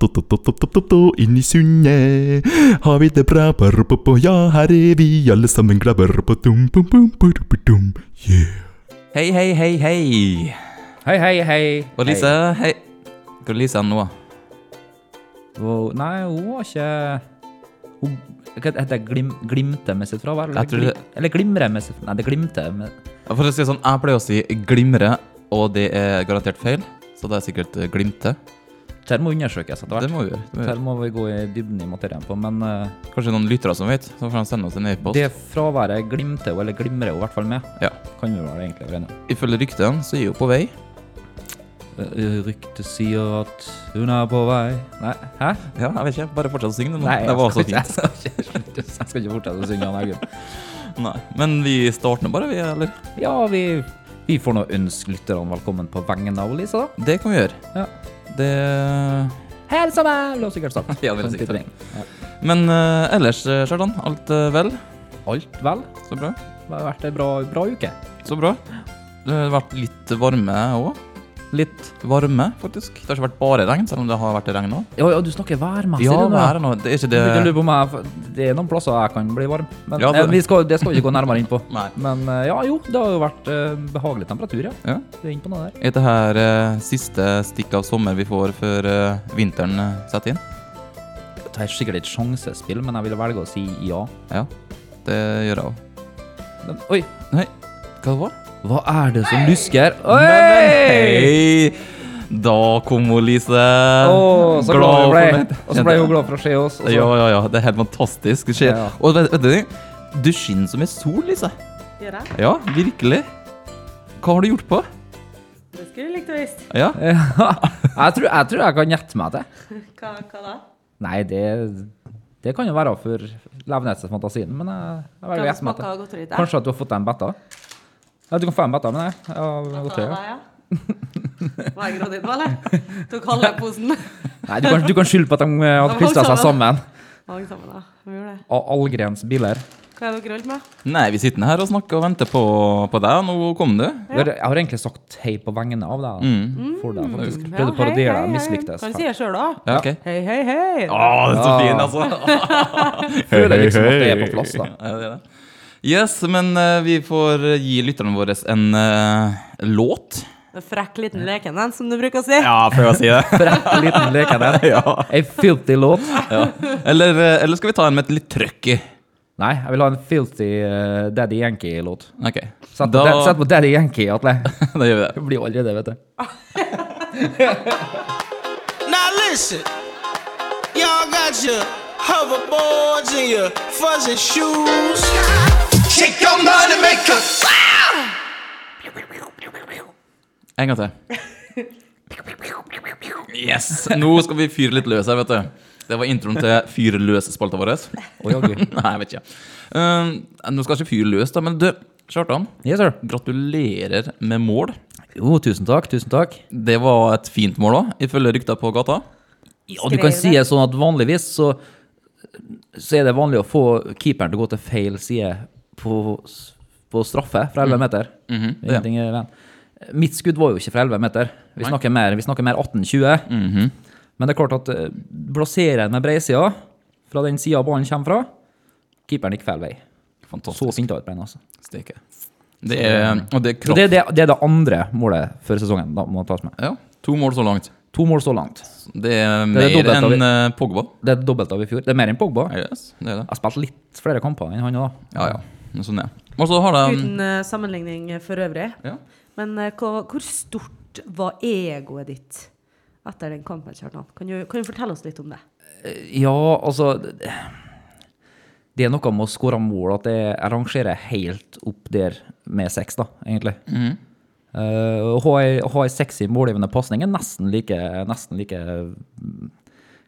Inn i sundet har vi det bra. Ja, her er vi alle sammen glade. Yeah. Hei, hei, hei, hei. Hei, hei, hei. Og Lise, hei. Hvor er Lise nå? Hei. Wow. Nei, hun var ikke Hun Hva heter det? Glim, glimte med sitt fravær? Eller, Jeg tror det- glim- eller glimre med sitt Nei, det glimter med For å si det sånn, jeg pleier å si glimre, og det er garantert feil. Så det er sikkert eh, glimte. Dette må undersøkes etter Det hvert. må vi gjøre. Det må vi Dette gjøre. må vi gå i dybden i materien på, men eh, Kanskje noen lyttere som vet, så får de sende oss en e-post. det fraværet glimter hun, eller glimrer hun i hvert fall med. Ja. Kan vi vel egentlig være enige om. Ifølge ryktene så er hun på vei. Eh, Ryktet sier at hun er på vei Nei, hæ? Ja, jeg vet ikke. Bare fortsett å synge det nå. Nei, det var så jeg skal fint. ikke- Jeg skal ikke, jeg skal ikke fortsette å synge den August. Nei. Men vi starter nå bare, vi, eller? Ja, vi, vi får nå ønske lytterne velkommen på vegne av Lisa, da. Det kan vi gjøre. Ja. Det Hel sommer! Lå sikkert sagt. Ja, det er Sånn sikkert. titling. Ja. Men eh, ellers, eh, Kjartan, alt eh, vel? Alt vel? Så bra. Det har vært ei bra, bra uke. Så bra. Det har vært litt varme òg. Litt Varme, faktisk. Det har ikke vært bare regn, selv om det har vært regn òg. Ja, ja, du snakker værmessig, Ja, du nå. været nå. Det er ikke det Jeg lurer på om jeg- Det er noen plasser jeg kan bli varm, men Ja, eh, det- vi skal, det skal vi ikke gå nærmere inn på. Nei. Men eh, ja, jo, det har jo vært eh, behagelig temperatur, ja. Ja. Du er inne på noe der. Er det her eh, siste stikk av sommer vi får før eh, vinteren eh, setter inn? Det er sikkert et sjansespill, men jeg ville velge å si ja. Ja, det gjør jeg òg. Men, oi, Nei, hva var det? hva er det som lusker? Oi! Hei! Da kom hun, Lise. Å, så glad hun fornøyd. ble. Og så ble hun glad for å se oss. og så- Ja, ja, ja. Det er helt fantastisk. Det skjer. Ja. Og vet, vet du, du skinner som en sol, Lise. Gjør jeg? Ja, virkelig. Hva har du gjort på? Det skulle du likt å visst. Ja, Ja. Jeg tror, jeg tror jeg kan gjette meg til. Hva, hva da? Nei, det, det kan jo være for levneste fantasien, men jeg, jeg velger å Hva gjette meg smaker til. av godteriet? Kanskje at du har fått deg en betta? Ja, du kan få en betta, men jeg har Hva gått da, høyere. ja? Var jeg grådig nå, eller? Tok halve posen. Nei, du kan, du kan skylde på at de eh, hadde klistra seg sammen. Mange sammen, da. Vi gjorde det. Av Allgrens biler. Hva er dere holdt med? Nei, vi sitter her og snakker og venter på, på deg, og nå kom du. Jeg har, jeg har egentlig sagt hei på vegne av deg. For deg, faktisk. Prøvde å parodiere deg, mislyktes. Kan du si det sjøl, da? Ja. Ok. Hei, hei, hei. Å, det er så fin, altså. Føler liksom at det er på plass, da. Ja, det er det. Yes, men eh, vi får gi lytterne våre en eh, låt. En Frekk liten leken den, som du bruker å si. Ja, prøv å si det. Frekk liten leke der. Ei filthy låt. Eller, eh, eller skal vi ta en med et litt trøkk i? Nei, jeg vil ha en filthy eh, Daddy Yankee-låt. Ok. Da- Sett, på Dad- sett på Daddy Yankee, Atle. da gjør vi det. Det blir aldri det, vet du. Now listen, y'all got your hoverboards and your fuzzy shoes. Shake your money maker. En gang til. Yes! Nå skal vi fyre litt løs her, vet du. Det var introen til Fyr løs-spalta vår. Oi, oi, oi. Nei, jeg vet ikke. Eh, nå skal jeg ikke fyre løs, da, men du, Kjartan. Yes, sir. Gratulerer med mål. Jo, tusen takk, tusen takk. Det var et fint mål òg, ifølge rykter på gata. Ja, du kan Skrev si det sånn at vanligvis så, så er det vanlig å få keeperen til å gå til feil side på, på straffe fra 11 meter. det er. Ingenting er venn. Mitt skudd var jo ikke fra 11 meter. Vi snakker mer, vi snakker mer 18-20. Men det er klart at eh, plasserer en med breisida fra den sida ballen kommer fra, keeperen gikk feil vei. Så Fantastisk. fint ut, Brein, altså. Steke. Det er, og det er Så kraft. det, er det, det er det andre målet for sesongen. Da må tas med. Ja, to mål så langt. To mål så langt. Det er Det mer er dobbelt av enn eh, Pogba. Det er dobbelt av i fjor. Det er mer enn Pogba. Jeg Yes, det er det. har spilt litt flere kamper enn han òg. Ja, ja. Sånn er det. Og så har de Uten eh, sammenligning for øvrig. ja. Men eh, hva, hvor stort var egoet ditt etter den kampen, Kjartan? Kan du, kan du fortelle oss litt om det? Ja, altså Det det er noe med å skåre mål at jeg jeg rangerer helt opp der med seks, da, egentlig. Eh, Å ha ei- å ha ei sexy målgivende pasning er nesten like, nesten like mm,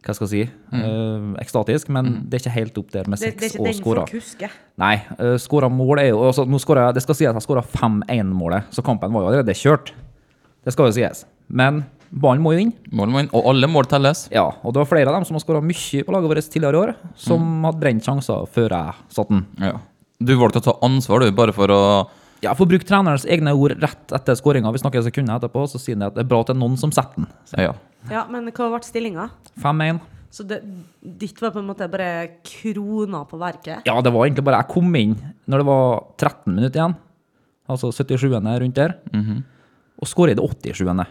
Hva skal jeg si? eh, ekstatisk, men det er ikke helt opp der med Det, det er seks ikke og den skåra. folk husker. Nei, uh, skåra mål er jo altså, nå skåra, jeg- Det skal sies at jeg skåra 5-1-målet, så kampen var jo allerede kjørt. Det skal jo sies. Men ballen må jo inn. Mål må inn. Og alle mål telles. Ja, og det var flere av dem som har skåra mye på laget vårt tidligere i år, Mm. som hadde brent sjanser før jeg satte den. Ja. Du valgte å ta ansvar, du, bare for å Ja, for bruk trenerens egne ord rett etter skåringa. Vi snakker sekunder etterpå, så sier han at det er bra at det er noen som setter den. Ja. Ja, men hva ble stillinga? 5-1. Så det, ditt var på en måte bare krona på verket? Ja, det var egentlig bare Jeg kom inn når det var 13 minutter igjen, altså 77. rundt der, Mhm. og skårer i det 87.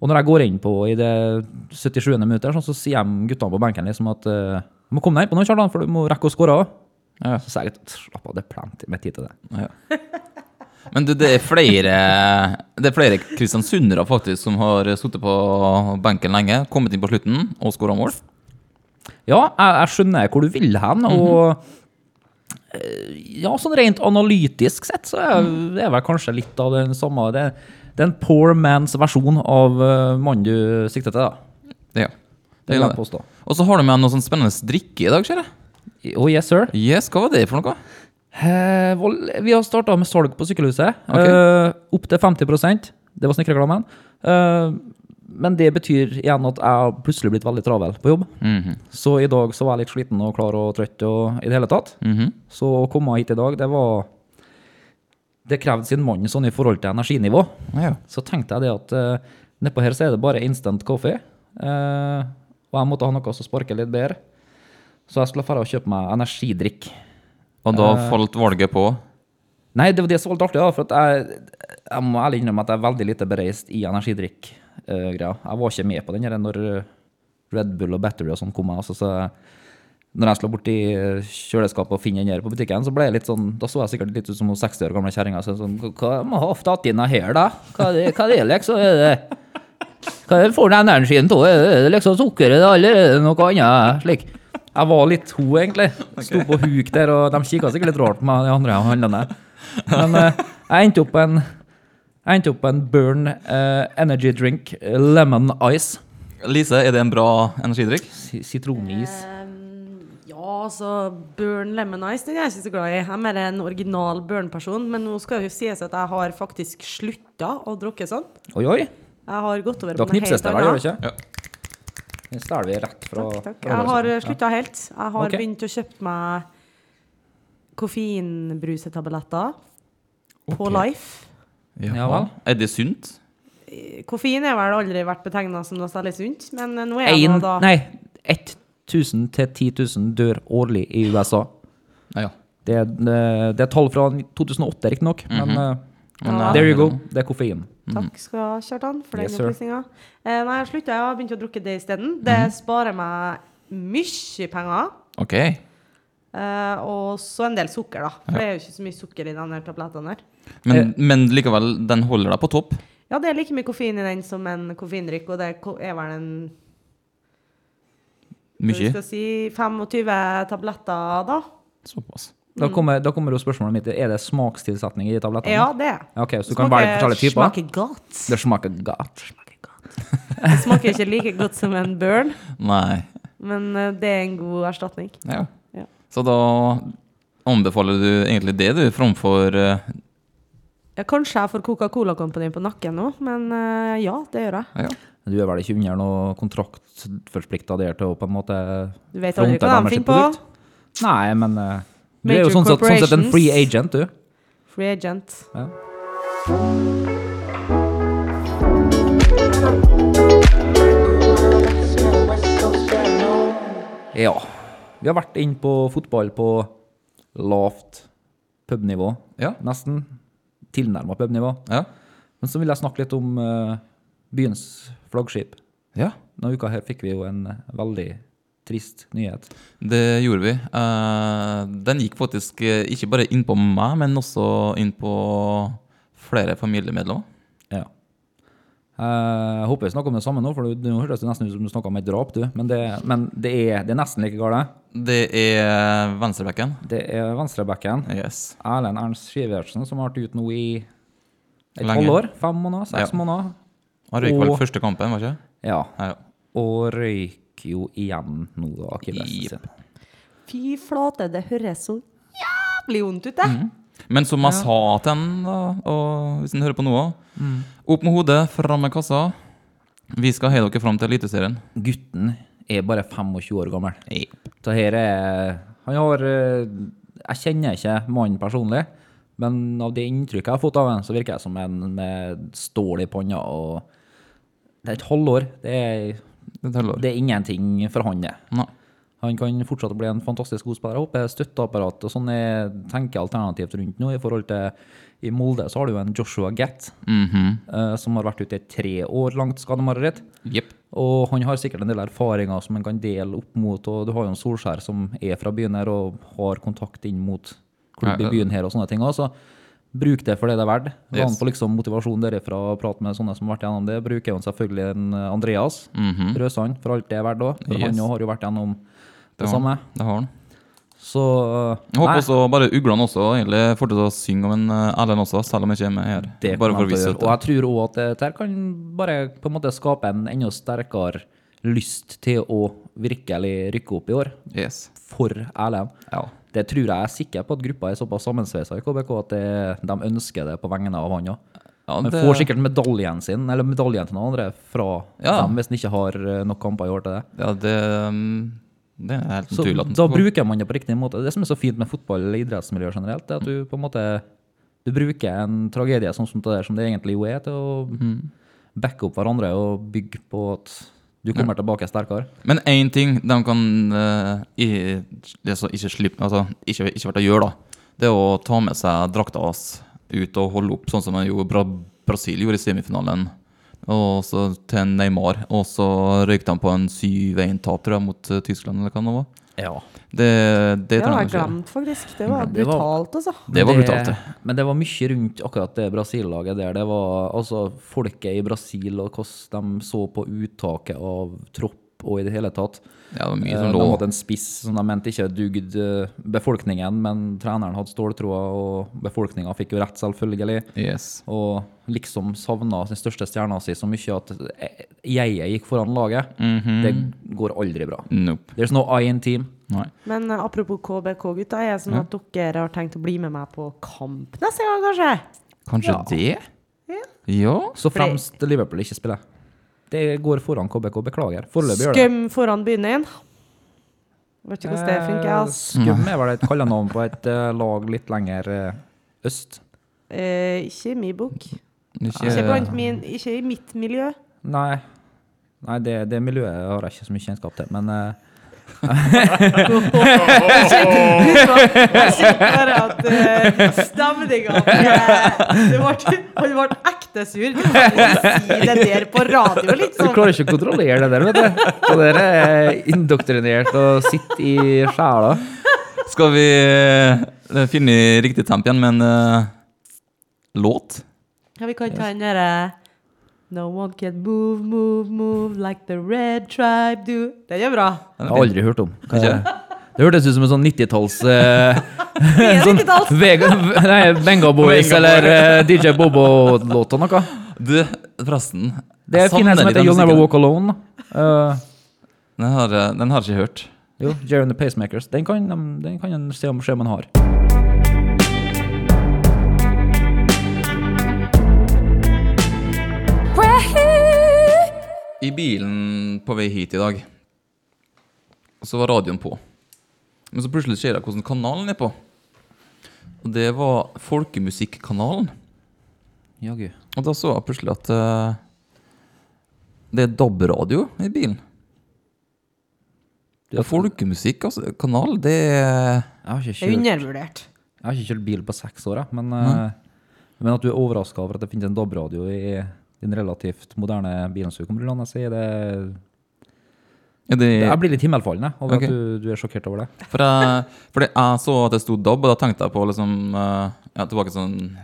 Og når jeg går inn på i det 77. minuttet, her, sånn, så sier de guttene på benken liksom at eh, du må komme deg innpå nå, Kjartan, for du må rekke å skåre òg. Ja. Så sier jeg at slapp av, det er plenty med tid til det. Ja. Men du, det er flere Det er flere kristiansundere faktisk som har sittet på benken lenge, kommet inn på slutten og skåra mål. Ja, jeg, jeg skjønner hvor du vil hen, og eh, ja, sånn rent analytisk sett så er det er vel kanskje litt av den samme Det, det er en poor man's versjon av eh, mannen du sikter til, da. Ja. Det vil jeg påstå. Og så har du med noe sånn spennende drikke i dag, ser jeg. Oh yes, sir. Yes, hva var det for noe? Eh, vold- vi har starta med salg på sykkelhuset. Ok. Eh, opp til 50 Det var snekkerreklamen. Eh, men det betyr igjen at jeg har plutselig blitt veldig travel på jobb. Mhm. Så i dag så var jeg litt sliten og klar og trøtt og i det hele tatt. Mhm. Så å komme hit i dag, det var Det krevde sin mann sånn i forhold til energinivå. Ja. Så tenkte jeg det at uh, nedpå her så er det bare instant coffee. eh, og jeg måtte ha noe som sparker litt bedre. Så jeg skulle dra og kjøpe meg energidrikk. Og da falt valget på Nei, det var det som var litt artig, da. For at jeg, jeg må ærlig innrømme at jeg er veldig lite bereist i energidrikk-greia. jeg var ikke med på den her når eh, Red Bull og Battery og sånn kom. Altså, så når jeg slår borti eh, kjøleskapet og finner den her på butikken, så ble jeg litt sånn Da så jeg sikkert litt ut som hun 60 år gamle kjerringa. Så jeg sånn, hva- hva må ha tatt inn av her, da? Hva er det, hva er det liksom? Er det hva er det for den energien da? Er det liksom sukkeret da, eller er det noe annet? Slik. Jeg var litt ho, egentlig. Sto på huk der, og de kikka sikkert litt rart på meg, de andre handlende. Men eh, jeg endte opp på en jeg endte opp på en Burn eh, Energy Drink eh, Lemon Ice. Lise, er det en bra energidrikk? Si- Sitronis. Ehm, ja, altså Burn Lemon Ice den er jeg ikke så glad i. Jeg er mer en original Burn-person. Men nå skal det jo sies at jeg har faktisk slutta å drikke sånn. Oi, oi. Jeg har gått over Da på noe knipses helt det vel, gjør det annet. Ja. ikke? Det stjeler vi rett fra Takk, takk. fra Jeg har eh, hverandre. slutta helt. Jeg har Ok. begynt å kjøpe meg koffeinbrusetabletter på Life. Ja vel. Er det sunt? Koffein er vel aldri vært betegna som noe særlig sunt, men eh, nå er jeg En, nå da nei, 1000 til 10 000 dør årlig i USA. Ja. Det er, eh, det er tall fra 2008, riktignok, men eh, Mhm. Ja. there you go. Det er koffein. Takk skal du ha, Kjartan, for den Mm. Yes, sir. opplysninga. Eh, nei, jeg slutta, jeg har begynt å drukke det isteden. Det Mm-hmm. sparer meg mye penger. Ok. eh, og så en del sukker, da. For det er jo ikke så mye sukker i den her tabletten her. Men, men likevel, den holder deg på topp? Ja, det er like mye koffein i den som en koffeindrikk, og det ko- er vel en Vi Mye? skal si 25 tabletter, da. Såpass. Da kommer, da kommer jo spørsmålet mitt er det smakstilsetning i de tablettene. Mm. Ja, det er Ja, ok, så du kan velge forskjellige typer? Smaker godt. Det smaker godt. Smaker godt. Det smaker ikke like godt som en burn, Nei. men eh, det er en god erstatning. Ja. Ja. Så da anbefaler du egentlig det, du, framfor eh, Ja, kanskje jeg får Coca-Cola Company på nakken nå, men eh, ja, det gjør jeg. ja. Du er vel ikke under noe kontraktforplikta der til å på en måte Du vet aldri fronte hva de deres finner på. produkt? Nei, men eh, du er Major jo sånn sett, sånn sett en corporations. free agent, du. Free agent. Ja. ja. Vi har vært inne på fotball på lavt pubnivå, Ja. nesten. Tilnærma pubnivå. Ja. Men så vil jeg snakke litt om eh, byens flaggskip. ja. Denne uka her fikk vi jo en eh, veldig trist nyhet. Det gjorde vi. Eh, den gikk faktisk eh, ikke bare inn på meg, men også inn på flere familiemedlemmer. Ja. Eh, Jeg håper vi snakker om det samme nå, for det- nå hørtes det nesten ut som du snakka om et drap, du. Men det, men det, er, det er nesten like galt. Det er venstrebekken. Det er venstrebacken Yes. Erlend Ernst Skivertsen som har vært ute nå i et Lenge. halvår. Fem måneder? Seks Ja. måneder? Han røyk vel Og- første kampen, var ikke det? Ja. Ja, ja. Og røyk jo igjen nå, da, akillesen Jepp. sin. Fy flate, det høres så jævlig vondt ut, det. Mm, Men som jeg sa til han, da, og hvis han hører på nå òg Opp med hodet, fram med kassa. Vi skal heie dere fram til Eliteserien. Gutten er bare 25 år gammel. Det her er Han har eh, Jeg kjenner ikke mannen personlig, Men av det inntrykket jeg har fått av ham, så virker jeg som en med stål i panna. og Det er et halvår. Det er, Det teller. det er ingenting for han, det. Nei. Han kan fortsatt bli en fantastisk god spiller. Jeg håper støtteapparat og sånn jeg tenker alternativt rundt nå. I forhold til i Molde så har du jo en Joshua Gatt, eh, som har vært ute i et tre år langt skademareritt. Jepp. Og han har sikkert en del erfaringer som han kan dele opp mot. Og du har jo en Solskjær som er fra byen her og har kontakt inn mot klubb Ja, i ja. byen her og sånne ting. også. bruk det for det det er verdt. Yes. Han Yes. får liksom motivasjon derifra å prate med sånne som har vært gjennom det. Bruker jo selvfølgelig en eh, Andreas Røsand for alt det er verdt òg. For han Mhm. Yes. jo har jo vært gjennom det, Det har samme. han. Det har han. Så Jeg håper nei, også bare uglene også egentlig fortsetter å synge om en eh, Erlend også, selv om jeg ikke er med her. bare det for å kommer vise jeg til å gjøre. Og at jeg tror òg at dette her kan bare på en måte skape en enda sterkere lyst til å virkelig rykke opp i år, Yes. for Erlend. Det tror jeg er sikker på at gruppa er såpass sammensveisa i KBK at det, de ønsker det på vegne av han òg. Ja, Han det- får sikkert medaljen sin, eller medaljen til noen andre fra Ja. dem hvis han ikke har eh, nok kamper i år til det. Ja, det, mm, det er helt Så naturlig at den da får. bruker man det på riktig måte. Det som er så fint med fotball eller idrettsmiljøer generelt, det er at du på en måte du bruker en tragedie sånn som det, der, som det egentlig jo er, til å Mhm. backe opp hverandre og bygge på at du kommer tilbake sterkere. Men én ting de kan eh, i, det som ikke slipp, altså, ikke, ikke vært å gjøre, da, det er å ta med seg drakta hans ut og holde opp, sånn som jo Bra Brasil gjorde i semifinalen. Og så til Neymar. Og så røykte han på en 7-1-tap, tror jeg, mot eh, Tyskland eller hva det nå var. Ja. Det, det Det har trenger jeg vi ikke gjøre. glemt, faktisk. Det var Mm, det var- brutalt, altså. Det var brutalt, det. Men det var mye rundt akkurat det Brasil-laget der. Det var altså folket i Brasil og hvordan de så på uttaket av tropp og i det hele tatt. Ja, det var mye Eh, som De lå hadde en spiss som de mente ikke dugde eh, befolkningen, men treneren hadde ståltroa, og befolkninga fikk jo rett, selvfølgelig. Yes. Og liksom savna sin største stjerna si så mye at eh, jeg gikk foran laget. Mhm. Det går aldri bra. Nope. There's no I in team. Nei. Men eh, apropos KBK, gutta. Er det sånn at dere har tenkt å bli med meg på kamp neste gang, kanskje? Kanskje det? Ja. Så fremst Liverpool ikke spiller. Det går foran KBK, beklager. Foreløpig gjør det. Skum foran byen din. Vet ikke hvordan det funker, altså. Eh, Skum er vel et kallenavn på et eh, lag litt lenger eh, øst. Eh, ikke i min bok. Eh. Ikke, Ikke, blant min, ikke i mitt miljø. Nei, Nei det, det miljøet har jeg ikke så mye kjennskap til, men eh, Jeg ser bare at uh, stemninga Det ble- Han ble ekte sur. Du kan ikke si det der på radio, Du liksom. klarer ikke å kontrollere det der, vet du. Og dere er indoktrinert og sitter i sjela. Skal vi eh, finne riktig temp igjen med en eh, låt? Ja, vi kan ta den derre No one can move, move, move like the red tribe do Den er bra. Jeg har aldri hørt om. Hva er det? Det hørtes ut som en sånn 90-talls eh, Er det ikke talt? Vega, nei, Benga Boys eller eh, DJ Bobo-låt og noe. Du, forresten Det er jeg en fin en som savner litt heter den You'll musikken. Never Walk Alone. Eh, Den har, eh, den har jeg ikke hørt. jo, Jerry and the Pacemakers. Den kan, de- den kan en se om se om en har. I bilen på vei hit i dag, så var radioen på. Men så plutselig ser jeg hvordan kanalen er på. Og det var Folkemusikkanalen. Jaggu. Og da så jeg plutselig at eh, det er DAB-radio i bilen. Du har- Folkemusikk, altså. Kanal, det er Jeg har ikke Det er kjørt, undervurdert. jeg har ikke kjørt bil på seks år, jeg, men, eh, men at du er overraska over at det finnes en DAB-radio i din relativt moderne bilen som du kommer til landet, sier det er det, Jeg blir litt himmelfallen jeg, over Ok. at du, du er sjokkert over det. For jeg, fordi jeg så at det sto DAB, og da tenkte jeg på liksom eh, ja, tilbake sånn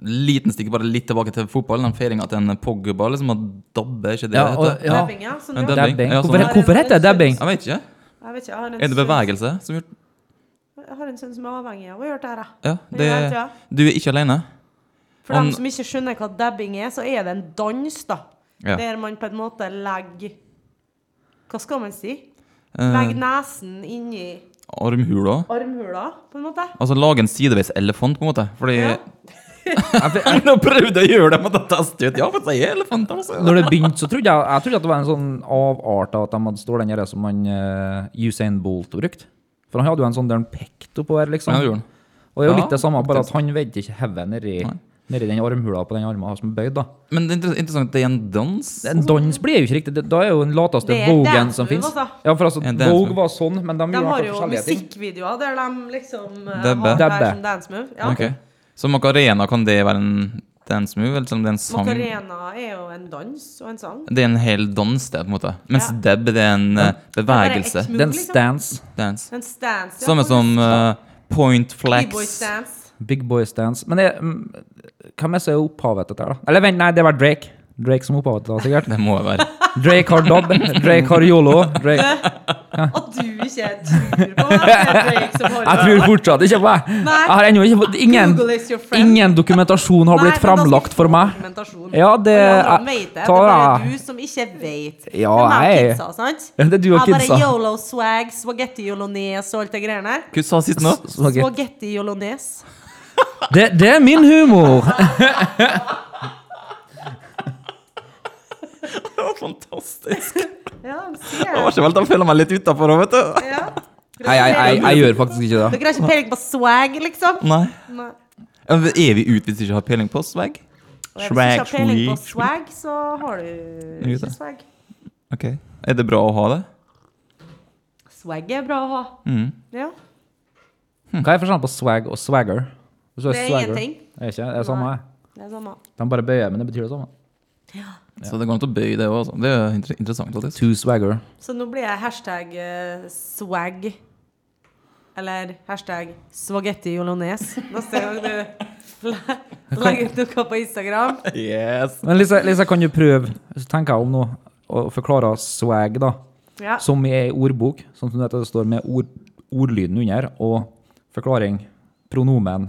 Liten stikk, bare litt tilbake til fotballen. Den feiringa til en Pogba, liksom, at dabbe, er ikke det Ja, det og- heter? ja. Dabbing, ja. Sånn Men det var- dabbing. Dabbing. Ja, sånn. Hvorfor, hvorfor heter det dabbing? Jeg vet ikke. Jeg vet ikke, jeg har en Er det sønn- bevegelse som gjør Jeg har en sønn som er avhengig av å gjøre det her. jeg. Ja, det, Ja, ja. du er ikke alene? For dem Han- som ikke skjønner hva dabbing er, så er det en dans, da. Ja. Der man på en måte legger Hva skal man si? Eh, Legger nesen inni Armhula? armhula, på en måte. Altså lage en sideveis elefant, på en måte. Fordi Ja. Nå prøvde jeg å gjøre det, men da testet jeg ut. Ja, for jeg er elefant, altså. Når det begynte, så trodde jeg, jeg trodde at det var en sånn avart av at de hadde stått den der som han, eh, Usain Bolt brukte. For han hadde jo en sånn der han pekte oppover, liksom. Ja, det gjorde han. Og det er jo Ja, litt det samme, bare at han vedder ikke hodet nedi, Nei. nedi den armhula på den armen her som er bøyd, da. Men det er inter- interessant, det er en dans. En dans blir jo ikke riktig. det- Da er jo den lateste Det er Vogue-en dance som move, fins. altså. Ja, for altså, En dance Vogue move. var sånn, men de, De gjorde har jo jo forskjellige ting. musikkvideoer der de liksom eh, Dabbe. har det Dabbe. her som dance move. Ja. Ok. Så Macarena, kan det være en dance move, eller som det er en sang? Macarena er jo en dans og en sang. Det er en hel dans, det, på en måte. Mens Ja. deb, det er en eh, bevegelse. Det er bare ett move, Den liksom. stance. Dance. En sånn stance. ja, Samme faktisk. som eh, point B-boy flex. stance. Big boy stance. Men det, mm, hvem er som er opphavet til dette? her, da? Eller vent, nei, det var Drake. Drake som opphavet til det, sikkert. Det må det være. Drake har dub. Drake har yolo. Drake. At du ikke tror på at det liksom er Drake som har Jeg tror fortsatt ikke på det. Nei. Jeg har ennå ikke fått ingen, Google is your friend. ingen dokumentasjon har Nei, blitt men altså- da skal framlagt du for få meg. dokumentasjon. Ja, det- Og alle andre jeg- vet det. Det tar er bare jeg. du som ikke vet. Ja, det er meg og jeg- kidsa, sant? Ja, det er du og Jeg kidsa. bare yolo swag, spagetti yolones og alt det greiene her. Hva sa sist nå? Spagetti. Spagetti yolones. Det, det er min humor! Det var fantastisk. Ja, sier Det var jeg. ikke vel, da føler jeg meg litt utafor òg, vet du. Ja. Nei, jeg, jeg, jeg gjør faktisk ikke det. Dere har ikke peiling på swag, liksom? Nei. Nei. Ja, men Er vi ute hvis vi ikke har peiling på swag? Og Hvis du ikke har peiling på swag. swag, så har du Ute. ikke swag. Ok. Er det bra å ha det? Swag er bra å ha. Mm. Ja. Hm, Hva er forskjellen på swag og swagger? Hvis du Det er swagger, ingenting. Er ikke, det er samme. Nei. Det er samme. De bare bøyer, men det betyr det samme. Så det går an å bøye det òg, altså. Det er jo inter- interessant. faktisk. To swagger. Så nå blir jeg hashtag eh, swag. Eller hashtag spagetti yolones. Neste gang du le- legger ut noe på Instagram. Yes. Men Lisa, Lisa kan du prøve, så tenker jeg om nå, å forklare swag, da. Ja. Som i ei ordbok, sånn som dette står med ord, ordlyden under, og forklaring, pronomen,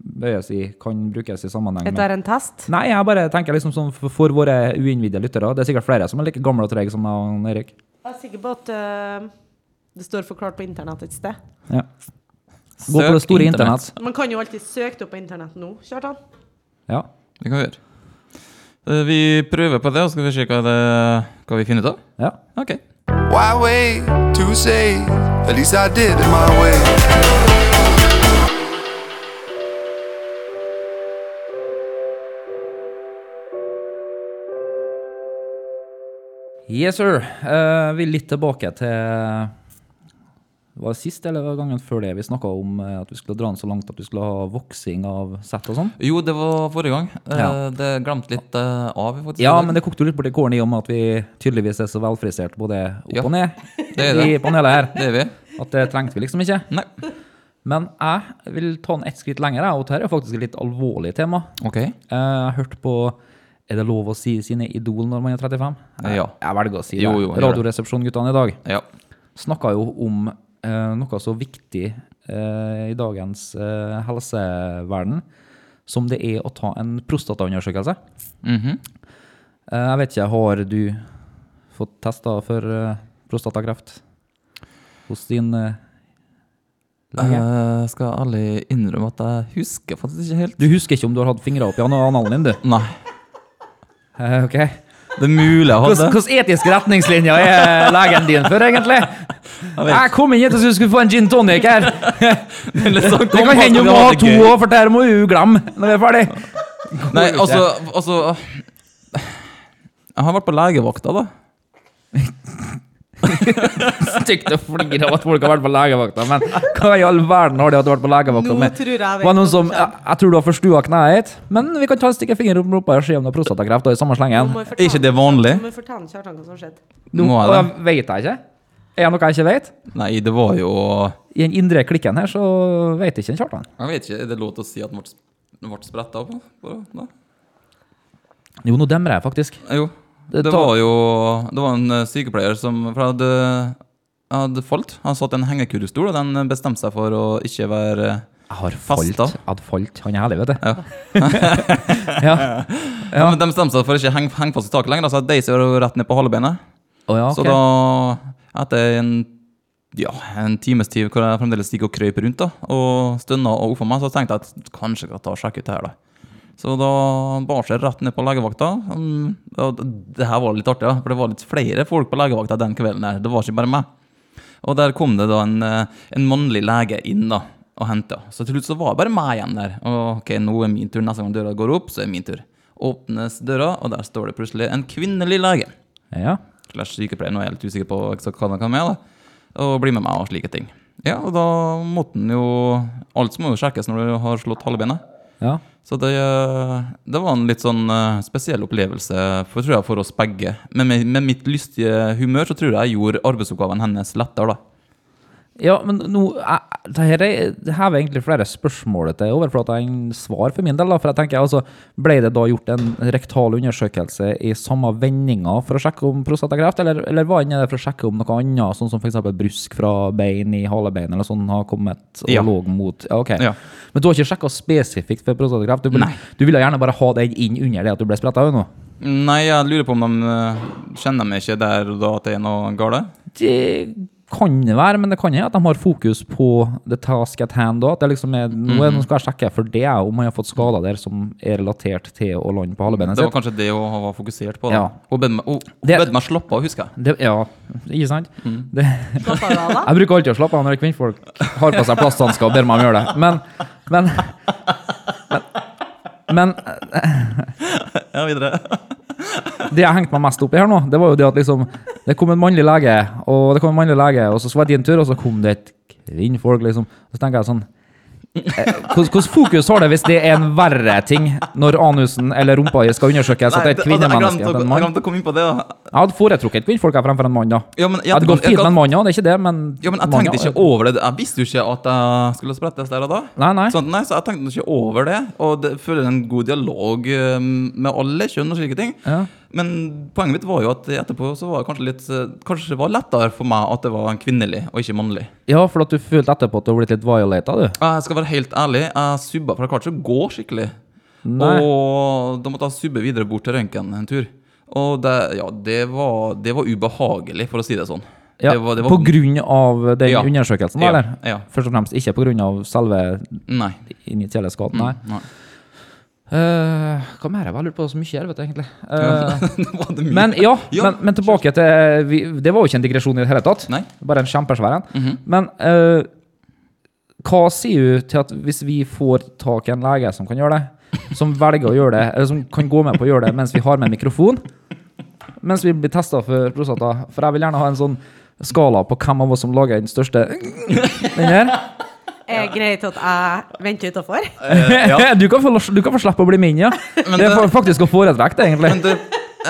bøyes i, kan brukes i sammenheng Dette med er en test. Nei, jeg bare tenker liksom sånn for, for våre uinnvidde lyttere. Det er sikkert flere som er like gamle og trege som jeg og Erik. Jeg er sikker på at eh, det står forklart på internett et sted. Ja. Gå på det store internett. Man kan jo alltid søke det opp på internett nå, Kjartan. Ja. Det kan vi gjøre. Eh, Vi prøver på det, og så skal vi se hva, det, hva vi finner ut av. ja. Ok. Why wait to say? At least I did it my way. Yes, sir. Eh, vi er litt tilbake til Var det sist eller var det gangen før det vi snakka om eh, at vi skulle dra den så langt at vi skulle ha voksing av sett og sånn? Jo, det var forrige gang. Eh, Ja. Det glemte litt eh, av. faktisk. Ja, men det kokte jo litt borti kålen i og med at vi tydeligvis er så velfrisert både opp Ja. og ned Det er i det. panelet her. Det er vi. At det trengte vi liksom ikke. Nei. Men jeg vil ta den ett skritt lenger, jeg, og dette er jo faktisk et litt alvorlig tema. Ok. Eh, Jeg har hørt på Er det lov å si sine idol når man er 35? Eh, ja. Jeg velger å si det. Jo, jo, gjør det. Radioresepsjon-guttene i dag Ja. snakka jo om eh, noe så viktig eh, i dagens eh, helseverden som det er å ta en prostataundersøkelse. Mhm. eh, jeg vet ikke, har du fått testa for eh, prostatakreft hos din eh, lege? Eh, skal ærlig innrømme at jeg husker faktisk ikke helt. du husker ikke om du har hatt fingra opp i analen din, du? Nei. Eh, ok. Det er mulig jeg hadde. Hvilke etiske retningslinjer er legen din for, egentlig? vet. Jeg kom inn hit og trodde du skulle få en gin tonic her. Eller så Det kom kan hende at du vi må ha hadde to gøy. òg, for det her må du glemme når vi er ferdig. Nei, ikke. altså, altså Jeg har vært på legevakta, da. Stygt å flire av at folk har vært på legevakta, men hva i all verden har de at du har vært på legevakta Nå med? tror jeg jeg Var det vet noen som, hva jeg, jeg tror du har forstua kneet ditt, men vi kan ta en stikke finger opp i rumpa og se om du har prostatakreft da, i samme slengen. Må jeg Er ikke det vanlig? Må jeg fortelle Kjartan hva som skjedde? Nå Nå er det. og jeg vet jeg ikke. Er det noe jeg ikke vet? Nei, det var jo I den indre klikken her så vet ikke en Kjartan. Jeg vet ikke, Er det lov til å si at den ble, den ble spretta opp? på- da? Jo, nå demrer jeg faktisk. Jo. Det Det tar- var jo Det var en eh, sykepleier som For jeg hadde, jeg hadde falt. Han satt i en hengekurvstol, og den bestemte seg for å ikke være Jeg har Fast falt. da. Jeg hadde falt. Han er herlig, vet du. Ja. ja. men De bestemte seg for å ikke henge, henge fast i taket lenger, da, så jeg deisa jo rett ned på halebeinet. Å ja, Så ok. da, etter en, ja, en times tid hvor jeg fremdeles gikk og krøp rundt da, og stønna og oppfor meg, så tenkte jeg at kanskje jeg kan ta og sjekke ut det her, da. Så da bar seg rett ned på legevakta. Mm, og d- Det her var litt artig, da, for det var litt flere folk på legevakta den kvelden. her, Det var ikke bare meg. Og der kom det da en, eh, en mannlig lege inn, da. og henta. Så til slutt så var det bare meg igjen der. Og ok, nå er min tur. Neste gang døra går opp, så er det min tur. Åpnes døra, og der står det plutselig en kvinnelig lege. Ja. Slash sykepleier, nå er jeg litt usikker på eksakt hva han kan med, da. Og bli med meg og slike ting. Ja, og da måtte han jo Alt må jo sjekkes når du har slått halebeinet. ja. Så det, eh, det var en litt sånn eh, spesiell opplevelse for, tror jeg, for oss begge. Men med, med mitt lystige humør så tror jeg jeg gjorde arbeidsoppgaven hennes lettere, da. Ja, men nå jeg- Det her er- det hever egentlig flere spørsmål til overflata enn svar for min del. da, For jeg tenker altså, Ble det da gjort en rektal undersøkelse i samme vendinga for å sjekke om prostatakreft, eller, eller var den der for å sjekke om noe annet, sånn som f.eks. brusk fra bein i halebein eller sånn har kommet og Ja. lå mot ja, ok. Ja. Men du har ikke sjekka spesifikt for prostatakreft? Du, vil- Nei. du ville gjerne bare ha den inn under det at du ble spretta øynene? Nei, jeg lurer på om de eh, kjenner meg ikke der og da at det er noe gale. Det kan det være, men det kan hende at de har fokus på the task at hand. da, At det liksom er, nå, er, nå skal jeg sjekke for det, om han har fått skader der som er relatert til å lande på halebeinet Det var sitt. kanskje det hun var fokusert på. da. Ja. Hun bød meg, hun- hun Det- bød meg slappe av, husker jeg. Det, ja, ikke sant? Det, Slapp av, da. jeg bruker alltid å slappe av når kvinnfolk har på seg plasthansker og ber meg om å gjøre det, men Men, men, men Ja, videre. det jeg hengte meg mest opp i her nå, det var jo det at liksom Det kom en mannlig lege, og det kom en mannlig lege, og så var det din tur, og så kom det et kvinnfolk, liksom. Så tenker jeg sånn eh, Hvordan fokus har det hvis det er en verre ting når anusen eller rumpa skal undersøkes? At det er et Nei, det- altså, kvinnemenneske Jeg enn glemte å- en jeg mann? glemte å komme inn på det. da. Jeg hadde foretrukket kvinnfolk her fremfor en mann, da. Ja, men jeg, Jeg hadde gått jeg- fint med en mann, ja, det er ikke det, men ja, men jeg mann, tenkte ikke over det. Jeg visste jo ikke at jeg skulle sprettes der og da. Nei, nei. Sånn, nei, så jeg tenkte ikke over det. Og det føler en god dialog eh, med alle kjønn og slike ting. Ja. Men poenget mitt var jo at etterpå så var det kanskje litt eh, Kanskje det var lettere for meg at det var en kvinnelig og ikke mannlig. Ja, for at du følte etterpå at du har blitt litt violata, du. Jeg skal være helt ærlig, jeg subba, for jeg klarte ikke å gå skikkelig. Nei. Og da måtte jeg subbe videre bort til røntgen en tur. Og det, ja, det, var, det var ubehagelig, for å si det sånn. Ja, det var, det var, På grunn av den Ja. undersøkelsen, da, Ja, eller? ja. Først og fremst ikke på grunn av selve Nei. initielle skaden, nei. Mm, nei. Eh, hva mer har jeg lurt på så mye her, vet du, egentlig? Eh, Det var det mye. men ja, Ja, men, men tilbake til eh, vi, Det var jo ikke en digresjon i det hele tatt. Nei. Mhm. Bare en kjempesvær en. Men eh, hva sier du til at hvis vi får tak i en lege som kan gjøre det, som velger å gjøre det, eller som kan gå med på å gjøre det mens vi har med en mikrofon, mens vi blir testa for prostata? For jeg vil gjerne ha en sånn skala på hvem av oss som lager den største den her. Er det greit at jeg venter utafor? Du, kan få, du kan få slippe å bli min, ja. Men det er det- fa- faktisk å foretrekke, det, egentlig. Men du,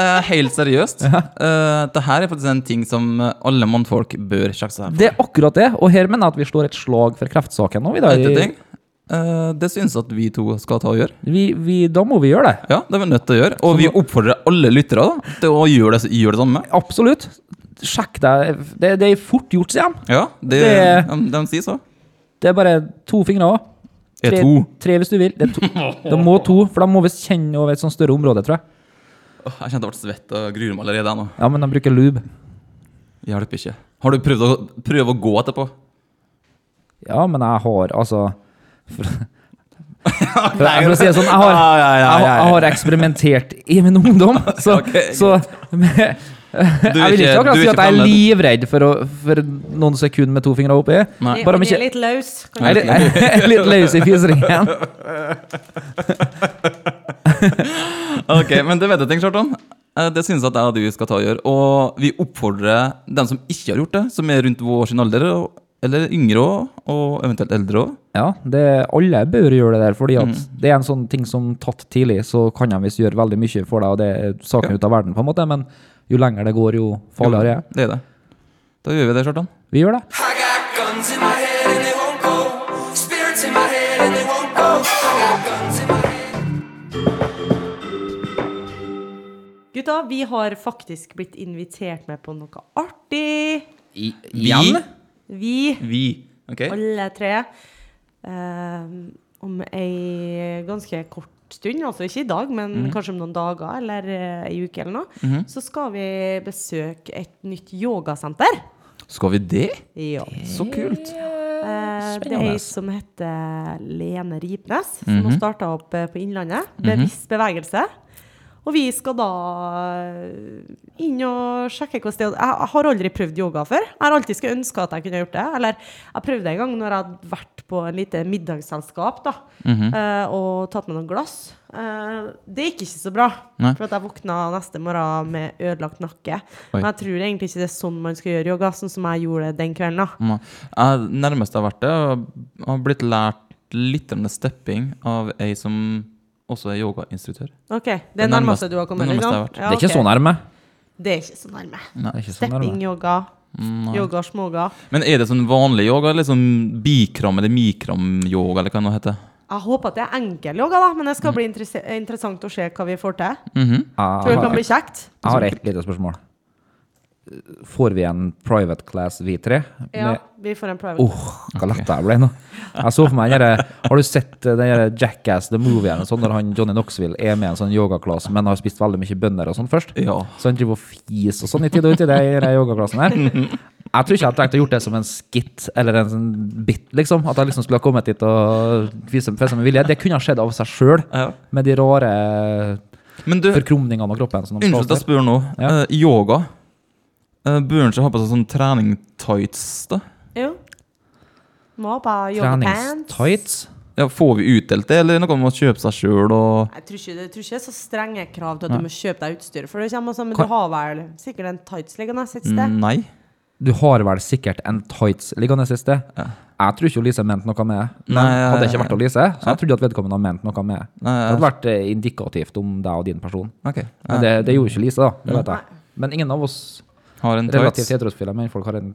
eh, helt seriøst. eh, det her er faktisk en ting som eh, alle mannfolk bør sjekke seg for. Det er akkurat det, og her mener jeg at vi slår et slag for kreftsaken nå. i dag. Dette ting, eh, det syns at vi to skal ta og gjøre. Vi, vi, da må vi gjøre det. Ja, det er vi nødt til å gjøre. Og vi oppfordrer alle lyttere da, til å gjøre det, gjøre det samme. Absolutt. Sjekk deg. Det, det er fort gjort, sier de. Ja, det, Det- de, de sier så. Det er bare to fingre òg. Er E to. Tre hvis du vil. Det er to. Det må to, for de må visst kjenne over et sånt større område, tror jeg. Åh, Jeg kjente jeg ble svett og gruer meg allerede nå. Ja, men de bruker lube. Hjelper ikke. Har du prøvd å, prøvd å gå etterpå? Ja, men jeg har altså for, for, for å si det sånn, jeg har, jeg, har- jeg har eksperimentert i min ungdom, så, Ok, så Du Jeg vil ikke akkurat du si at jeg er planlagt. livredd for, å, for noen sekunder med to fingre oppi. Nei. Bare om Jeg ikke er litt løs. kan Jeg er litt, jeg er litt løs i fiseringen. Ok, men det vet jeg ting, Kjartan. Eh, Det synes jeg at jeg og du skal ta og gjøre. Og vi oppfordrer dem som ikke har gjort det, som er rundt vår sin alder, og- eller yngre òg, og eventuelt eldre òg. Ja, det, alle bør gjøre det der, fordi at det er en sånn ting som tatt tidlig, så kan de visst gjøre veldig mye for deg, og det er saken Ja. ut av verden, på en måte, men jo lenger det går, jo farligere er det. Det er det. Da gjør vi det, Kjartan. Vi gjør det. I got guns in my head and they won't go. Spirits in my head and they won't go. I got guns in my head. Gutta, vi har faktisk blitt invitert med på noe artig. igjen? Vi, Vi. Ok? alle tre, ehm, om ei ganske kort stund, altså ikke i dag, men kanskje om noen dager eller eh, ei uke eller noe, så skal vi besøke et nytt yogasenter. Skal vi det? Ja. Så kult. Eh, Det er Spennende. ei som heter Lene Ripnes, som Mhm. har starta opp eh, på Innlandet. Bevisst bevegelse. Og vi skal da eh, inn og sjekke hvordan det er. Jeg jeg har aldri prøvd yoga før. Jeg har alltid skulle ønske at jeg kunne gjort det. Eller jeg prøvde en gang når jeg hadde vært på en lite middagsselskap da, Mhm. eh, og tatt med noen glass. Eh, det gikk ikke så bra, Nei. for at jeg våkna neste morgen med ødelagt nakke. Oi. Men jeg tror egentlig ikke det er sånn man skal gjøre yoga, sånn som jeg gjorde det den kvelden. da. Nei. Jeg, nærmest jeg har vært det, jeg har blitt lært litt om det stepping av ei som også er yogainstruktør. Ok, Det er Det nærmeste- nærmeste du har det kommet? nærmeste liksom? jeg har vært. Ja, Det er ikke ok. så nærme. Det er ikke så nærme. Nei, Det er ikke så nærme. Stepping, yoga, yoga, småga. Men er det sånn vanlig yoga, eller sånn bikram eller mikram-yoga, eller hva det nå heter? Jeg håper at det er enkel yoga, da, men det skal bli interesse- interessant å se hva vi får til. Mm. Tror Jeg det kan har, bli kjekt. jeg har ett lite spørsmål. Får vi en private class, vi tre? Ja, Med- vi får en prøve. Åh, hva letta jeg Oh, ble nå. Jeg så for meg den derre- Har du sett eh, den derre Jackass the Movie eller sånn, når han Johnny Knoxville er med i en sånn yogaklasse, men har spist veldig mye bønner og sånn først? Ja. Så han driver og fiser og sånn i tid og ut i det i den yogaklassen her. Jeg tror ikke jeg hadde tenkt å gjort det som en skit eller en sånn bit, liksom. At jeg liksom skulle ha kommet dit og vist festa med vilje. Det kunne ha skjedd av seg sjøl, Ja. med de rare Men du, forkrumningene av kroppen. Som de Unnskyld at jeg skaper. spør nå. Ja. Eh, yoga. Uh, bør en ikke ha på seg sånn trening-tights, da? Jo. Må ha bare yoga pants. Treningstights. Ja, får vi utdelt det, eller er det noe med å kjøpe seg sjøl og Jeg tror ikke det jeg tror ikke det er så strenge krav til at du må kjøpe deg utstyr. For det kommer også, men du har vel sikkert en tights liggende et Mm. sted? Nei. Du har vel sikkert en tights liggende et sted? Jeg tror ikke Lise mente noe med det. Nei, Hadde det jeg- ikke vært Lise, så jeg trodde at vedkommende hadde ment noe med det. Det Nei, hadde vært eh, indikativt om deg og din person. Ok. Men det, det gjorde ikke Lise, da. Det vet jeg. Men ingen av oss Har en relativt tights, heterofile mennfolk har en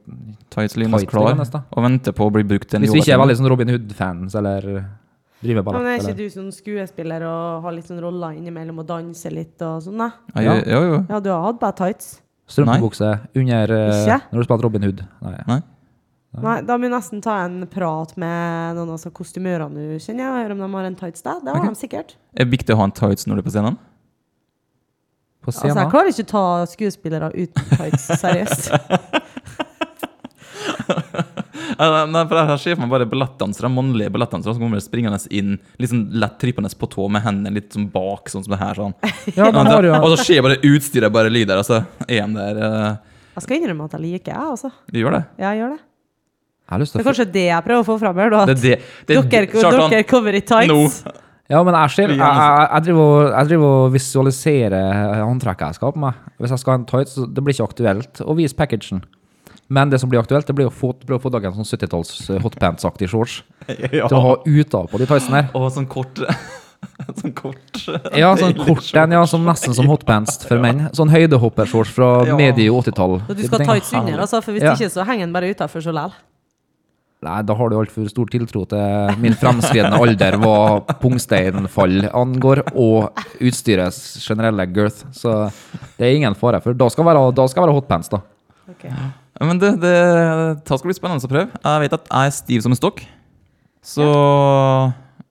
tights liggende tights klar liggende, da. og venter på å bli brukt til en Hvis vi ikke er yogatime. veldig sånn Robin Hood-fans eller driver med Ja, Men er ballett ikke eller du sånn skuespiller og har litt sånn roller innimellom og danser litt og sånn, da? Ja, jo, jo, jo. Ja, du har hatt bare tights? strømpebukse under eh, Ikke? Når du spiller Robin Hood. Nei. Nei. Nei, da må jeg nesten ta en prat med noen av altså, kostymørene du kjenner, og høre om de har en tights der. Det har Ok. de sikkert. Er det viktig å ha en tights når du er på scenen? På Altså, jeg scenen. klarer ikke å ta skuespillere uten tights, seriøst. Eh, Nei, for jeg ser for meg bare ballettdansere, mannlige ballettdansere som kommer springende inn, litt sånn lett trippende på tå med hendene litt sånn bak, sånn som det her, sånn. Ja, da har du jo Og så ser bare utstyret bare lyder, og så er han der eh, Jeg skal innrømme at jeg liker det, altså. Vi gjør det. Ja, jeg gjør det. Jeg har lyst Det til er å kanskje det jeg prøver å få fram her, da. Det er At det. det er- dere, Kjartan, dere cover i tights. nå. Ja, men jeg ser, Vi jeg, gjør jeg, jeg, driver, og- jeg driver og visualiserer eh, håndtrekket jeg skal ha på meg. Hvis jeg skal ha en tights, så det blir ikke aktuelt å vise packagen. Men det som blir aktuelt, det blir å få, prøve å få tak i en sånn 70-talls eh, hotpants-aktig shorts. Til å ha utapå de tightsene her. Og sånn kort Sånn kort Ja, sånn kort en, ja, som nesten som hotpants for menn. Sånn høydehoppershorts fra Ja. medio 80-tall. Så du skal ha tights under, altså, for hvis Ja. ikke så henger den bare utafor så lell. Nei, da har du altfor stor tiltro til min fremskridende alder hva pungsteinfall angår, og utstyrets generelle girth. Så det er ingen fare for. Da skal være, da skal være hotpants, da. Men det, det, det skal bli spennende å prøve. Jeg vet at jeg er stiv som en stokk. Så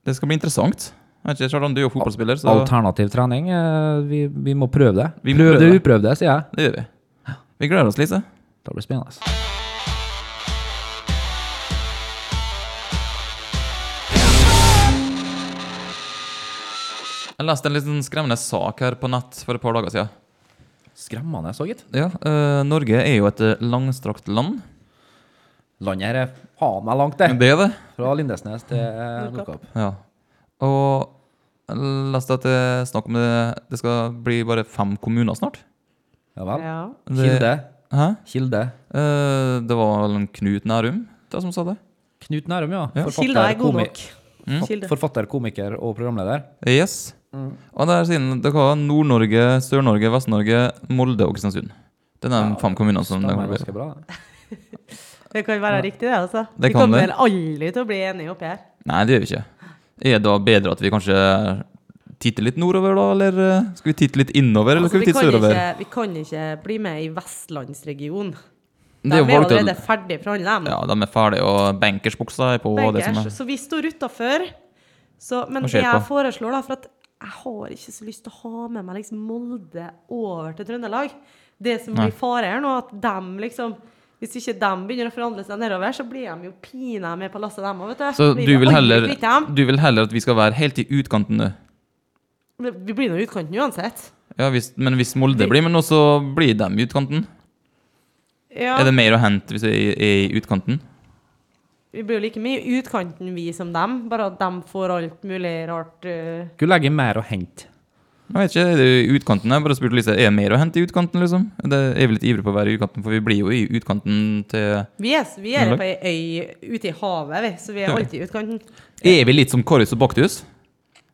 det skal bli interessant. Jeg vet ikke, Kjartan, du er jo fotballspiller, så Alternativ trening, eh, vi, vi må prøve det. Vi må prøv prøve det det. uprøvde, sier jeg. det gjør vi. Vi gleder oss, Lise. Det blir spennende. Jeg leste en litt sånn skremmende sak her på nett for et par dager siden. Skremmende, så gitt. Ja, eh, Norge er jo et eh, langstrakt land. Landet her er faen meg langt, det. Det er det. Fra Lindesnes til eh, Nordkapp. Ja. Og jeg leste at det er snakk om det, det skal bli bare fem kommuner snart. Ja vel. Ja. Det- Kilde. Hæ? Kilde. Eh, det var vel en Knut Nærum det som sa det? Knut Nærum, ja. Kilder er god komi- Mm. nok. Kilder. Forfatter, komiker og programleder. Yes. Og der siden dere har Nord-Norge, Sør-Norge, Vest-Norge, Molde og Kristiansund. Det er de fem kommunene som det Stemmer kan bli. ganske bra. det. Det kan være riktig, det, altså. Det vi kan kommer det. vel aldri til å bli enige oppi her. Nei, det gjør vi ikke. Er det da bedre at vi kanskje titter litt nordover, da? Eller eh, skal vi titte litt innover, eller skal Altså, vi vi, titte kan ikke, sørover? vi kan ikke bli med i Vestlandsregionen. Det De er jo valgt ut- allerede ferdig forhandla, dem. Ja, de er ferdige, og bankersbuksa er på. og Det som Bankers. er. Så vi står utafor. Men Og det ser jeg på. foreslår, da, for at jeg har ikke så lyst til å ha med meg liksom Molde over til Trøndelag Det som blir fare her nå, at dem liksom Hvis ikke dem begynner å forhandle seg nedover, så blir de jo pinadø med på lasset, dem òg, vet du. Så Blir du vi vil, aldri heller, kvitt dem. du vil heller at vi skal være helt i utkanten nå? Vi blir nå i utkanten uansett. Ja, hvis, men hvis Molde blir med nå, så blir de i utkanten. Ja, Er det mer å hente hvis vi er i- i utkanten? Vi blir jo like mye i utkanten, vi, som dem. Bare at dem får alt mulig rart. eh, Skulle legge mer å hente. Jeg vet ikke, er det i utkanten? Jeg bare spurte Lise, er det mer å hente i utkanten, liksom? Det er vel litt ivrig på å være i utkanten, for vi blir jo i utkanten til Vi er, vi er Null. på ei øy ute i havet, vi, så vi er Ja. alltid i utkanten. Er vi litt som Kåris og Baktus?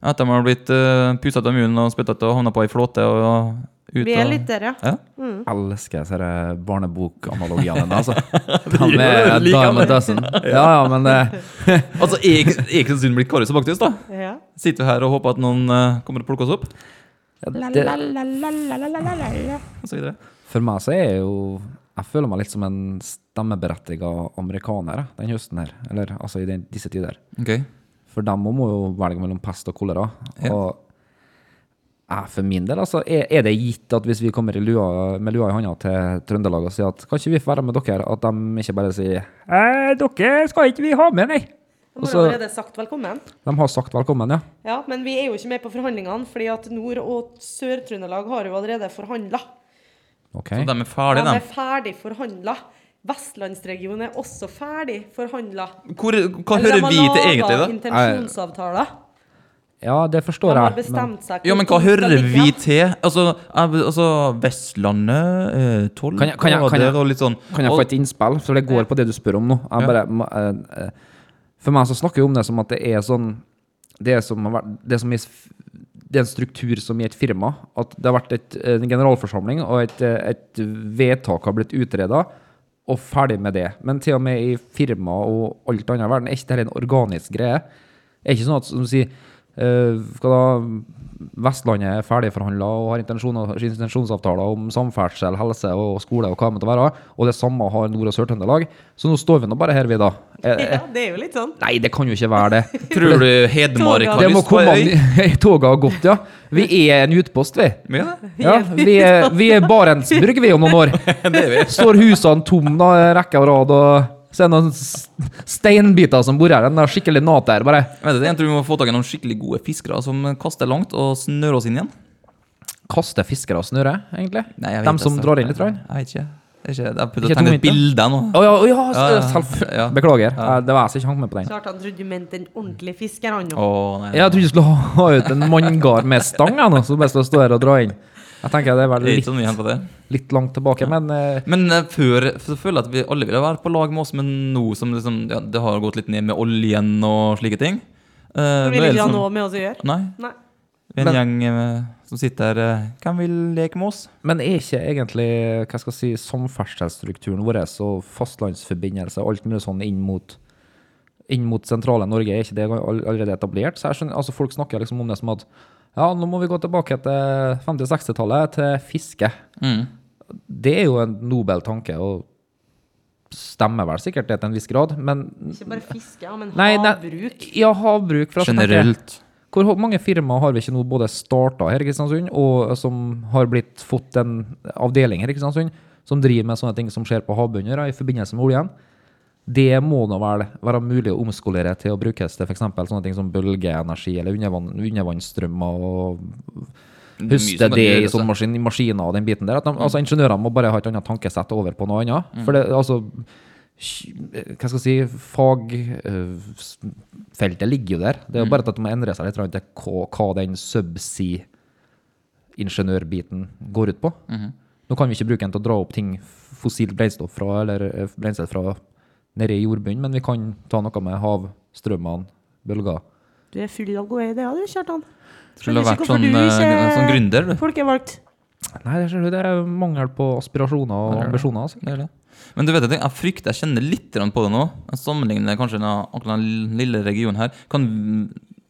At de har blitt uh, pusset av munnen og spyttet og havnet på ei flåte og, og ut Vi er og- litt der, ja. Ja? Elsker disse her barnebokanalogiene dine, altså. De er a dime a dozen. Ja, ja, men eh, det eh, Altså, er ikke- er ikke Sunn blitt Kåris og Baktus, da? ja. Sitter vi her og håper at noen eh, kommer og plukker oss opp? det, Og så videre. For meg så er jo Jeg føler meg litt som en stemmeberettiga amerikaner jeg, den høsten her. Eller altså i den, disse tider. Ok. For dem må jo velge mellom pest og kolera. Ja. Og jeg, for min del, altså, er, er det gitt at hvis vi kommer i lua, med lua i hånda til Trøndelag og sier at kan ikke vi få være med dere, at de ikke bare sier eh, dere skal ikke vi ha med, nei. De Og har så- allerede sagt velkommen. De har sagt velkommen, ja. Ja, Men vi er jo ikke med på forhandlingene, fordi at Nord- og Sør-Trøndelag har jo allerede forhandla. Ok. Så de er De ferdige, er ferdig forhandla. Vestlandsregionen er også ferdig forhandla. de. Hvor, hva hører vi til egentlig, da? Intensjonsavtaler. Ja, det De forstår har jeg. Men bestemt seg Ja, men hva hvor ting skal hører vi ligge. til? Altså, jeg- altså Vestlandet, eh, tolv Kan jeg- kan jeg- kan jeg- grader og litt sånn kan jeg og, få et innspill? For det går på det du spør om nå. Jeg bare, må- eh, eh, for meg så snakker jeg om det som at det er sånn Det er, som, har vært- det som er, s- det er en struktur som i et firma. At det har vært et, en generalforsamling, og et, eh, et vedtak har blitt utreda. Og ferdig med det. Men til og med i firma og alt annet i verden er ikke dette en organisk greie. Det er ikke sånn at som du sier eh, hva da, Vestlandet er ferdigforhandla og har intensjoner- intensjonsavtaler om samferdsel, helse og skole og hva det måtte være, og det samme har Nord- og Sør-Trøndelag. Så nå står vi nå bare her, vi, da. Eh, eh, Ja, det er jo litt sånn. Nei, det kan jo ikke være det. Tror du Hedmark har Det må lyst på komme ei øy? an i toget har gått, ja. Vi er en utpost, vi. Ja, Ja, vi er, vi er Barentsburg, vi, om noen år. Står husene tom da, rekke og rad, og så er det noen s- steinbiter som bor her. Den er skikkelig nat der, bare. Vet du, jeg tror vi må få tak i noen skikkelig gode fiskere som kaster langt og snører oss inn igjen. Kaster fiskere og snøre, egentlig? Nei, jeg vet De som ikke, drar inn litt? altså. Rann? Jeg vet ikke. Jeg, ikke, jeg prøvde Ikke å tegne tungvint, et bilde nå. Å ja, å ja, s- Ja, ja, selv- ja. Beklager. Eh, Det var jeg som ikke hang med på den. Klart han trodde du mente den ordentlige fiskeren. han, jo. Å, nei. Jeg trodde du skulle ha ha ut en manngard med stang, jeg, nå, så bare skal stå her og dra inn. Jeg tenker det er vel Det er ikke så mye å litt, hente på det. litt langt tilbake, men eh, Men eh, før så føler jeg at vi alle ville være på lag med oss, men nå som liksom, ja, det har gått litt ned med oljen og slike ting eh, nå er Vil det ikke ha sånn- noe med oss å gjøre. Nei. Nei. Vi er en Men- gjeng eh, som sitter her eh, Hvem vil leke med oss? Men er ikke egentlig hva skal jeg si, samferdselsstrukturen vår og fastlandsforbindelser og alt mulig sånn inn mot, inn mot sentrale Norge, er ikke det all- allerede etablert? Så jeg skjønner, altså Folk snakker liksom om det som at ja, nå må vi gå tilbake til 50-60-tallet, til fiske. Det er jo en nobel tanke, og stemmer vel sikkert det til en viss grad, men Ikke bare fiske, ja, men Nei, det- havbruk. Ja, havbruk. for at jeg tenker- Generelt. hvor ho- mange firmaer har vi ikke nå både starta her i Kristiansund, og eh, som har blitt fått en avdeling her i Kristiansund, som driver med sånne ting som skjer på havbunnen da, i forbindelse med oljen? Det må nå vel være mulig å omskolere til å brukes til f.eks. sånne ting som bølgeenergi eller undervann, undervannsstrømmer og Det er altså. Mm. mye som kan høste det i gjøres, sånne da. maskin, maskiner og den biten der. At de, altså, ingeniørene må bare ha et annet tankesett over på noe annet. Mm. For det, altså hva skal jeg si, eh, fagfeltet ligger jo der. Det er jo bare at det må endre seg litt rundt til hva, hva den subsea-ingeniørbiten går ut på. Nå kan vi ikke bruke den til å dra opp ting fossilt brennstoff fra, eller eh, brensel fra nede i jordbunnen, men vi kan ta noe med havstrømmene, bølger. Du er full av gode ideer, du, Kjartan. Skulle ha Skjønner vært ikke hvorfor sånn, du eh, ikke- sånn gründer, du. Folk er valgt. Nei, det ser du, det er mangel på aspirasjoner og ambisjoner. Altså. Det er det. Men du vet at jeg- jeg frykter, jeg kjenner litt grann på det nå. Jeg sammenligner kanskje denne, akkurat den lille regionen her. Kan,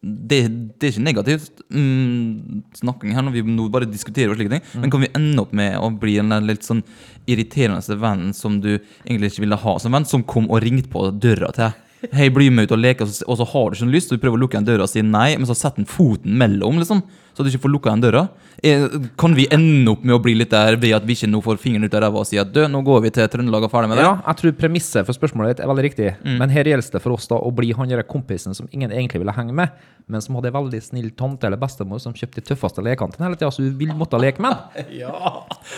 det, det er ikke negativt mm, snakking her når vi nå bare diskuterer og slike ting, men kan vi ende opp med å bli den der litt sånn irriterende vennen som du egentlig ikke ville ha som venn, som kom og ringte på døra til deg? Hei, bli med ut og leke, og så, og så har du ikke noe lyst, så du prøver å lukke igjen døra og si nei, men så setter den foten mellom, liksom. Så at du ikke får lukka igjen døra. Eh, Kan vi ende opp med å bli litt der ved at vi ikke nå får fingeren ut av ræva og sier at dø, nå går vi til Trøndelag og ferdig med det? Ja, jeg tror premisset for spørsmålet ditt er veldig riktig. Mm. Men her gjelder det for oss da å bli han der kompisen som ingen egentlig ville henge med, men som hadde en veldig snill tante eller bestemor som kjøpte de tøffeste lekene til den hele tida, så du vil måtte leke med den.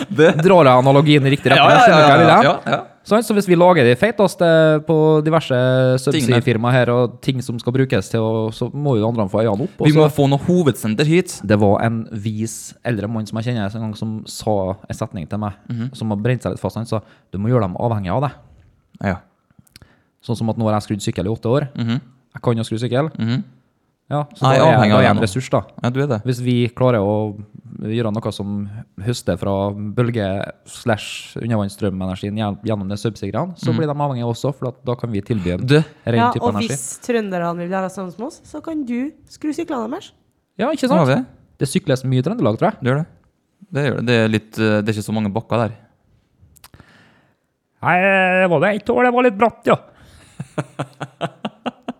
Det- Drar jeg analogien i riktig retning? Ja, ja, Skjønner du hva jeg vil ja, hen? ja, ja. Sant? Så hvis vi lager de feiteste på diverse subsidiefirmaer her, og ting som skal brukes til å Så må jo de andre få øynene opp. og Vi må så- få noe hovedsenter hit. det var en vis eldre mann som jeg kjenner, en gang som sa en setning til meg, Mhm. som har brent seg litt fast. Han sa du må gjøre dem avhengig av deg. Ja. Sånn som at nå har jeg skrudd sykkel i åtte år. Jeg kan jo skru sykkel. Ja, så Mhm. Nei, da er jeg, avhengig da av er jeg det en nå. ressurs, da. ja, du er det. Hvis vi klarer å gjøre noe som høster fra bølge-slash-undervannsstrømenergien gjen- gjennom det subsidiene, så blir de avhengige også, for at da kan vi tilby en Mhm. Du, ren Ja, type og energi. hvis trønderne vil være sammen med oss, så kan du skru syklene deres. Ja, ikke så har sant? vi det. Det sykles mye i Trøndelag, tror jeg. Du gjør det. Det gjør det. Det er, litt, eh, det er ikke så mange bakker der. Nei, det var det ett år, det var litt bratt, ja.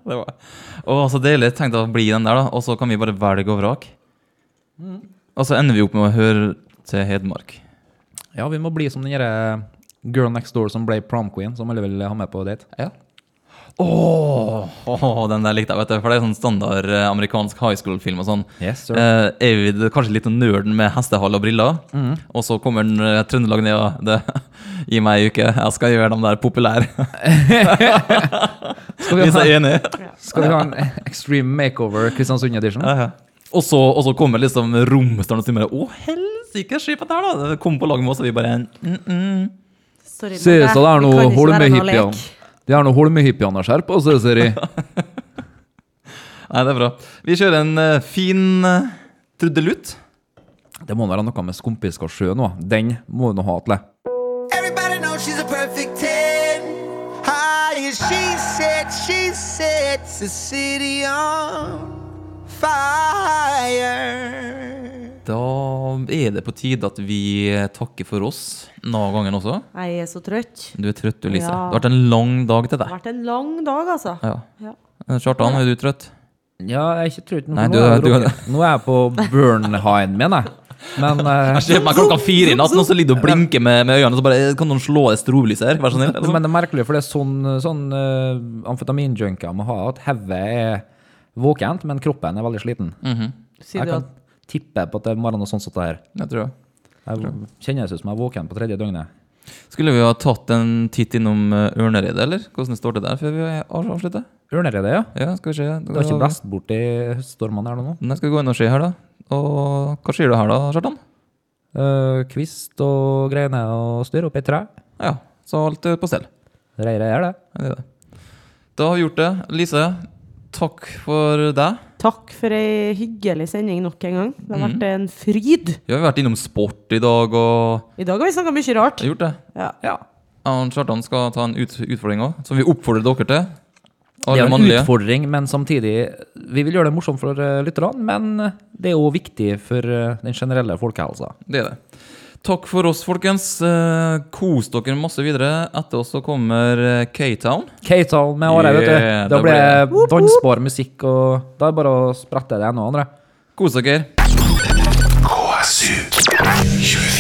Det var Å, så deilig. Tenk deg å bli den der, da. Og så kan vi bare velge og vrake. Og så ender vi opp med å høre til Hedmark. Ja, vi må bli som den derre girl next door som ble prom queen, som alle vil ha med på date. Ja. Åh, åh, den der likte jeg, vet du. For det er sånn standard eh, amerikansk high school-film og sånn. Yes, sir. Eh, Avid, kanskje litt nerden med hestehale og briller. Og så kommer den, eh, Trøndelag ned og det, Gi meg ei uke, jeg skal gjøre dem der populære. Skal vi Hvis ha, jeg er enig. skal vi ha en extreme makeover Kristiansund edition? Ja, ja. Og så, og så kommer liksom romsteren og sier bare, Å, helsike, se på det her, da! Det Kom på lag med oss, og vi bare mm, mm. Sorry, Se, men så det er vi noe kan ikke være noe Holme-hippiene. lek. Det er noe Holme-hippiene har skjerpa seg, ser jeg. Nei, det er bra. Vi kjører en eh, fin eh, trudelutt. Det må være noe med Skumpiska sjø nå. Den må du nå ha til. Everybody knows she's a perfect 10. High as she said, she sets the city on fire. Da er det på tide at vi takker for oss noen ganger også. Jeg er så trøtt. Du er trøtt, du, Lise. Ja. Det har vært en lang dag til Det deg. har vært en lang dag, altså. Ja. Eh, Ja. Kjartan, er du trøtt? Ja, jeg ikke tror ikke Nei, nå du- er jeg du- drukket. Nå er jeg på Bernheim, mener jeg. Men eh, Jeg ser meg klokka fire i natten, og så ligger du og blinker med, med øynene. Og så bare eh, Kan noen slå et strobelys her? Vær så snill. Men det er merkelig, for det er sånn, sånn eh, amfetaminjunker må ha, at hodet er våkent, men kroppen er veldig sliten. Sier Jeg du kan at tippe på at det må være noe sånt som det her. Jeg tror det. Jeg kjenner det som jeg er våken på tredje døgnet. Skulle vi ha tatt en titt innom eh, Ørneredet, eller? Hvordan det står til der før vi av- avslutter? Ørneredet, ja. Ja, skal vi se. Det har ikke blest bort i stormene her nå. Nei, skal vi gå inn og se her, da? Og hva sier du her, da, Kjartan? Eh, kvist og greiene og styr oppi et tre. Ja, så alt er på stell. Reiret er det. Det er det. Da har vi gjort det. Lise, takk for deg. takk for ei hyggelig sending nok en gang. Det har Mhm. vært en fryd. Vi har vært innom sport i dag og I dag har vi snakka mye rart. Vi har gjort det. Ja. Ja. Jeg og Kjartan skal ta en ut, utfordring òg, som vi oppfordrer dere til. Det er Alle jo en mannlige. utfordring, men samtidig Vi vil gjøre det morsomt for eh, lytterne, men det er òg viktig for eh, den generelle folkehelsa. Det er det. Takk for oss, folkens. Eh, Kos dere masse videre. Etter oss så kommer eh, K-Town. K-Town med Are, vet Yeah, du. Da da blir blir det dansbar musikk, og da er det bare å sprette det ene og andre. Kos dere. KSU 24.